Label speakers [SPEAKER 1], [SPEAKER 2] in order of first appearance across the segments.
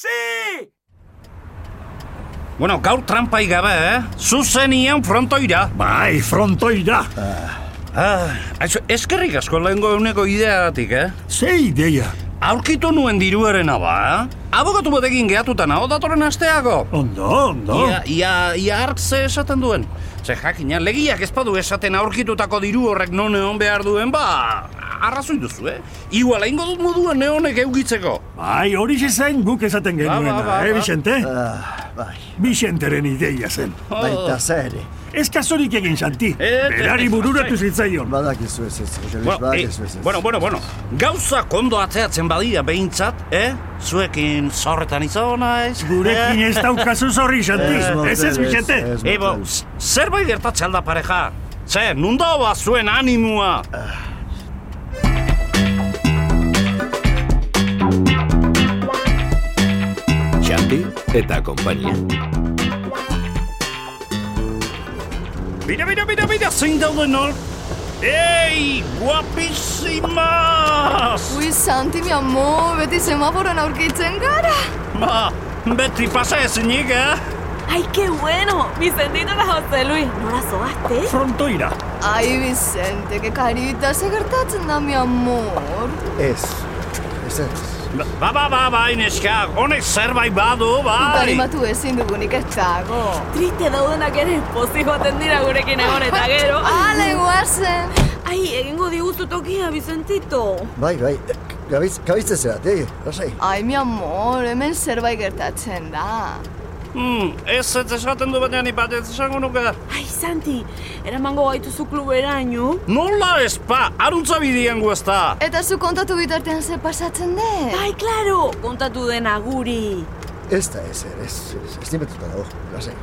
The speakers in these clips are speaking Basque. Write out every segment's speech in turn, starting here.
[SPEAKER 1] taxi!
[SPEAKER 2] Bueno, gaur trampai gabe, eh? Zuzenian frontoira.
[SPEAKER 3] Bai, frontoira.
[SPEAKER 2] Ah, aizu, eskerrik asko lehengo euneko ideagatik, eh?
[SPEAKER 3] Ze ideia.
[SPEAKER 2] Aurkitu nuen diruarena ba, eh? Abokatu batekin gehatuta nago datorren asteako.
[SPEAKER 3] Ondo,
[SPEAKER 4] Oh.
[SPEAKER 3] ondo.
[SPEAKER 2] Ia, ia, ia hartz ze esaten duen. Ze jakina, legiak ez badu esaten aurkitutako diru horrek non egon behar duen, ba, arrazoi duzu, eh? Iguala ingo dut modua neonek eugitzeko.
[SPEAKER 3] Bai, hori zen guk esaten
[SPEAKER 2] ba,
[SPEAKER 3] genuena,
[SPEAKER 2] ba,
[SPEAKER 3] eh,
[SPEAKER 2] ba.
[SPEAKER 3] Vicente?
[SPEAKER 4] Ah, bai,
[SPEAKER 3] Vicenteren ideia zen.
[SPEAKER 2] Oh.
[SPEAKER 4] baita zere.
[SPEAKER 3] Ez kasorik egin xanti.
[SPEAKER 2] Eh,
[SPEAKER 3] Berari
[SPEAKER 2] eh,
[SPEAKER 3] bururatu
[SPEAKER 2] eh.
[SPEAKER 3] zitzaion.
[SPEAKER 4] Badakizu ez ez, Jose Luis,
[SPEAKER 2] Bueno, eh,
[SPEAKER 4] badakizu ez ez.
[SPEAKER 2] bueno, bueno, bueno. Gauza kondo atzeatzen badira behintzat, eh? Zuekin zorretan izan naiz.
[SPEAKER 3] Gurekin ez daukazu zorri xanti.
[SPEAKER 2] Eh,
[SPEAKER 4] motel,
[SPEAKER 3] Ez ez, Vicente.
[SPEAKER 4] ez motel.
[SPEAKER 2] Ebo, zerbait gertatze alda pareja. Ze, nunda ba zuen animua.
[SPEAKER 5] Xandi eta konpainia.
[SPEAKER 2] Bira, bira, bira, bira, zein dauden hor. Ei, guapisimas!
[SPEAKER 6] Ui, Santi, mi amor, beti semaforan aurkitzen gara.
[SPEAKER 2] Ba, beti pasa ezinik, eh?
[SPEAKER 7] ¡Ay, qué bueno! Vicentito la José Luis. ¿No la sobaste?
[SPEAKER 3] Frontoira.
[SPEAKER 6] Ai, Vicente, que karita, ze gertatzen da, mi amor.
[SPEAKER 4] Ez, ez ez.
[SPEAKER 2] Ba, ba, ba, ba, ineska, honek zerbait badu, bai.
[SPEAKER 6] Tarimatu ezin dugunik ez dago.
[SPEAKER 7] Triste daudenak ere espozik joaten dira gurekin egon eta gero.
[SPEAKER 6] Ale, guazen.
[SPEAKER 7] Ai, egingo diguzu tokia, Vicentito.
[SPEAKER 4] Bai, bai, eh, gabiz, gabizte zerat, eh, lasai.
[SPEAKER 6] Ai, mi amor, hemen zerbait gertatzen da.
[SPEAKER 2] Hmm, ez ez esaten du baina nipat ez esango nuke.
[SPEAKER 7] Ai, Santi, eramango gaituzu kluberaino.
[SPEAKER 2] Nola ez ba, aruntza bidean guazta.
[SPEAKER 6] Eta zu kontatu bitartean ze pasatzen den.
[SPEAKER 7] Bai, claro, kontatu dena guri.
[SPEAKER 4] Ez da ez, ez, ez, ez, ez nimetuta dago, lasai.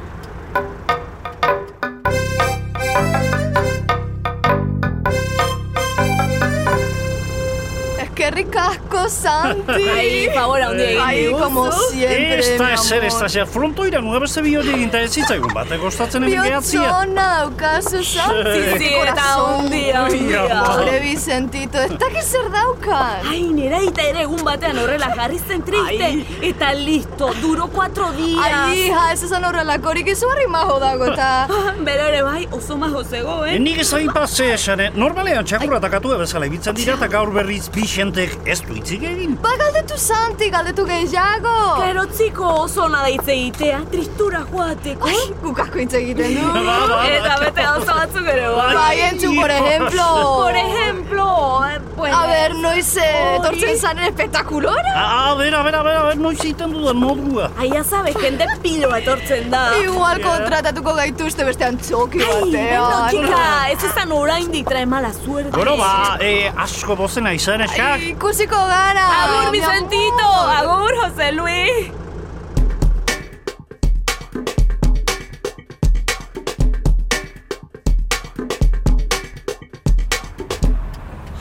[SPEAKER 6] Eskerrik asko, Santi.
[SPEAKER 7] Ai, favor, handi egin
[SPEAKER 6] Ai,
[SPEAKER 7] diguzu.
[SPEAKER 6] como siempre,
[SPEAKER 2] Ez da
[SPEAKER 6] mi
[SPEAKER 2] ezer, ez da
[SPEAKER 6] amor.
[SPEAKER 2] ezer, frontoira nubeste bihori eginta ez zitzaigun batek gustatzen hemen gehatzia.
[SPEAKER 6] Bihotzona daukazu, Santi. este
[SPEAKER 7] Sí, sí, eta
[SPEAKER 6] Corazón.
[SPEAKER 7] ondia, ondia.
[SPEAKER 6] Zure Vicentito, ez dakit zer daukan.
[SPEAKER 7] Ai, neraita ere egun batean horrela jarri zen triste. Eta listo, duró cuatro días.
[SPEAKER 6] Ai, hija, ez esan horrelakorik izugarri maho dago eta...
[SPEAKER 7] Bero ere bai, Ah, oso majo zegoen.
[SPEAKER 2] Eh, Nik ez ari pase esan, eh? normalean txakurra takatu bezala ibiltzen dira eta gaur berriz Bixentek ez du hitzik egin.
[SPEAKER 6] Ba, galdetu Santi, galdetu gehiago.
[SPEAKER 7] Claro, txiko oso ona hitz egitea, tristura joateko.
[SPEAKER 6] Ai, gukasko hitz egiten du.
[SPEAKER 2] Ba, ba, ba.
[SPEAKER 7] Eta bete gauza batzuk ere bai.
[SPEAKER 6] Bai, entzun, por ejemplo.
[SPEAKER 7] Por ejemplo, eh, pues...
[SPEAKER 6] A ber, noiz eh, etortzen zaren espektakulora?
[SPEAKER 2] A, ber, a ber, a ber, a ber, noiz egiten dudan modua.
[SPEAKER 7] Ai, ya sabes, jende piloa etortzen da.
[SPEAKER 6] Igual kontratatuko gaituzte beste antzoki
[SPEAKER 7] Ai, bueno,
[SPEAKER 6] batean.
[SPEAKER 7] txika, ez izan oraindik trae mala suerte.
[SPEAKER 2] Bueno, ba, eh, asko bozena izan eskak.
[SPEAKER 6] Ai, Ikusiko gara.
[SPEAKER 7] Agur,
[SPEAKER 6] mi amor.
[SPEAKER 7] Vicentito! Agur, José Luis!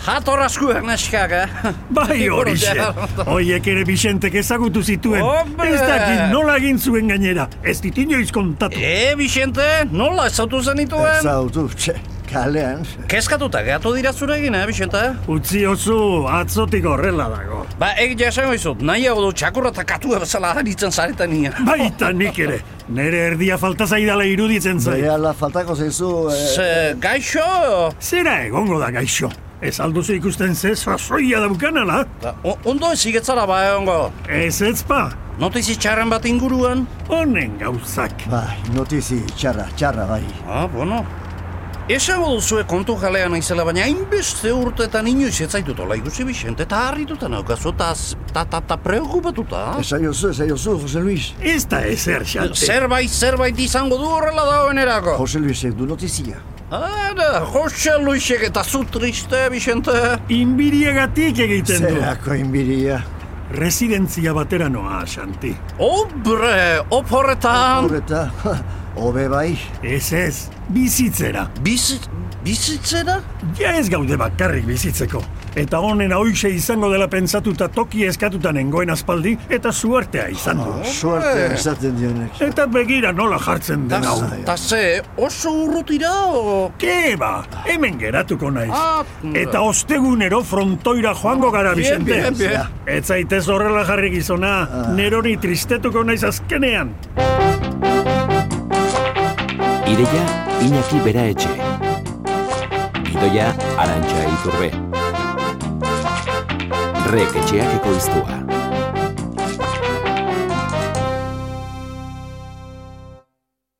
[SPEAKER 2] Jator asko erneskak, eh?
[SPEAKER 3] Bai horixe. Hoiek ere Vicentek ezagutu zituen.
[SPEAKER 2] Hombre!
[SPEAKER 3] Ez dakit nola egin zuen gainera. Ez dit inoiz kontatu.
[SPEAKER 2] E, Bixente, nola ezautu
[SPEAKER 4] Ez
[SPEAKER 2] zenituen?
[SPEAKER 4] zautu, txe, kalean.
[SPEAKER 2] Kezkatuta gehatu dira zurekin, eh, Bixente?
[SPEAKER 3] Utzi oso atzotik horrela dago.
[SPEAKER 2] Ba, egitea esango izut, nahiago du txakurra takatu bezala aritzen zaretan nia.
[SPEAKER 3] Baita nik ere. Nere erdia falta zaidala iruditzen zait.
[SPEAKER 4] Behala faltako zaizu, eh,
[SPEAKER 2] Ze, gaixo,
[SPEAKER 3] Zera egongo da gaixo. Ez alduzu ikusten ze sasoia daukanala.
[SPEAKER 2] Ba, o- ondo ez igetzara ba egongo.
[SPEAKER 3] Ez ez pa.
[SPEAKER 2] Notizi txarren bat inguruan?
[SPEAKER 3] Honen gauzak.
[SPEAKER 4] bai, notizi, txarra, txarra, bai.
[SPEAKER 2] Ah, bueno. Esago duzue kontu jalea naizela, baina hainbeste urtetan inoiz ez zaitut hola ikusi Bixente, eta harrituta naukazu, eta z- ta, ta, ta preokupatuta.
[SPEAKER 4] Esaiozu, esaiozu, Jose Luis.
[SPEAKER 3] Ez da ezer xante.
[SPEAKER 2] Zerbait, zerbait izango du horrela dagoenerako.
[SPEAKER 4] Jose Luisek du notizia.
[SPEAKER 2] Ara, Jose Luisek eta zu triste, Bixente.
[SPEAKER 3] Inbiriegatik egiten du.
[SPEAKER 4] Zerako inbiria.
[SPEAKER 3] Residentzia batera noa, Xanti.
[SPEAKER 2] Obre, op horretan.
[SPEAKER 4] Horreta, hobe bai.
[SPEAKER 3] Ez ez, bizitzera.
[SPEAKER 2] Bizit, bizitzera?
[SPEAKER 3] Ja ez gaude bakarrik bizitzeko. Eta honen hoixe izango dela pentsatuta toki eskatuta nengoen aspaldi eta zuartea izan
[SPEAKER 4] Ah.
[SPEAKER 3] du.
[SPEAKER 4] Suerte esaten dionek.
[SPEAKER 3] Eta begira nola jartzen den hau.
[SPEAKER 2] Ta ze, oso urrutira o...
[SPEAKER 3] Keba, ba, hemen geratuko naiz.
[SPEAKER 2] Ah,
[SPEAKER 3] Eta ostegunero frontoira joango gara,
[SPEAKER 2] Bien,
[SPEAKER 3] Vicente.
[SPEAKER 2] bien, bien.
[SPEAKER 3] Ez zaitez horrela jarri gizona, nerori tristetuko naiz azkenean.
[SPEAKER 5] Ideia Iñaki Beraetxe. Gidoia Arantxa Iturbe. Rek etxeak ekoiztua.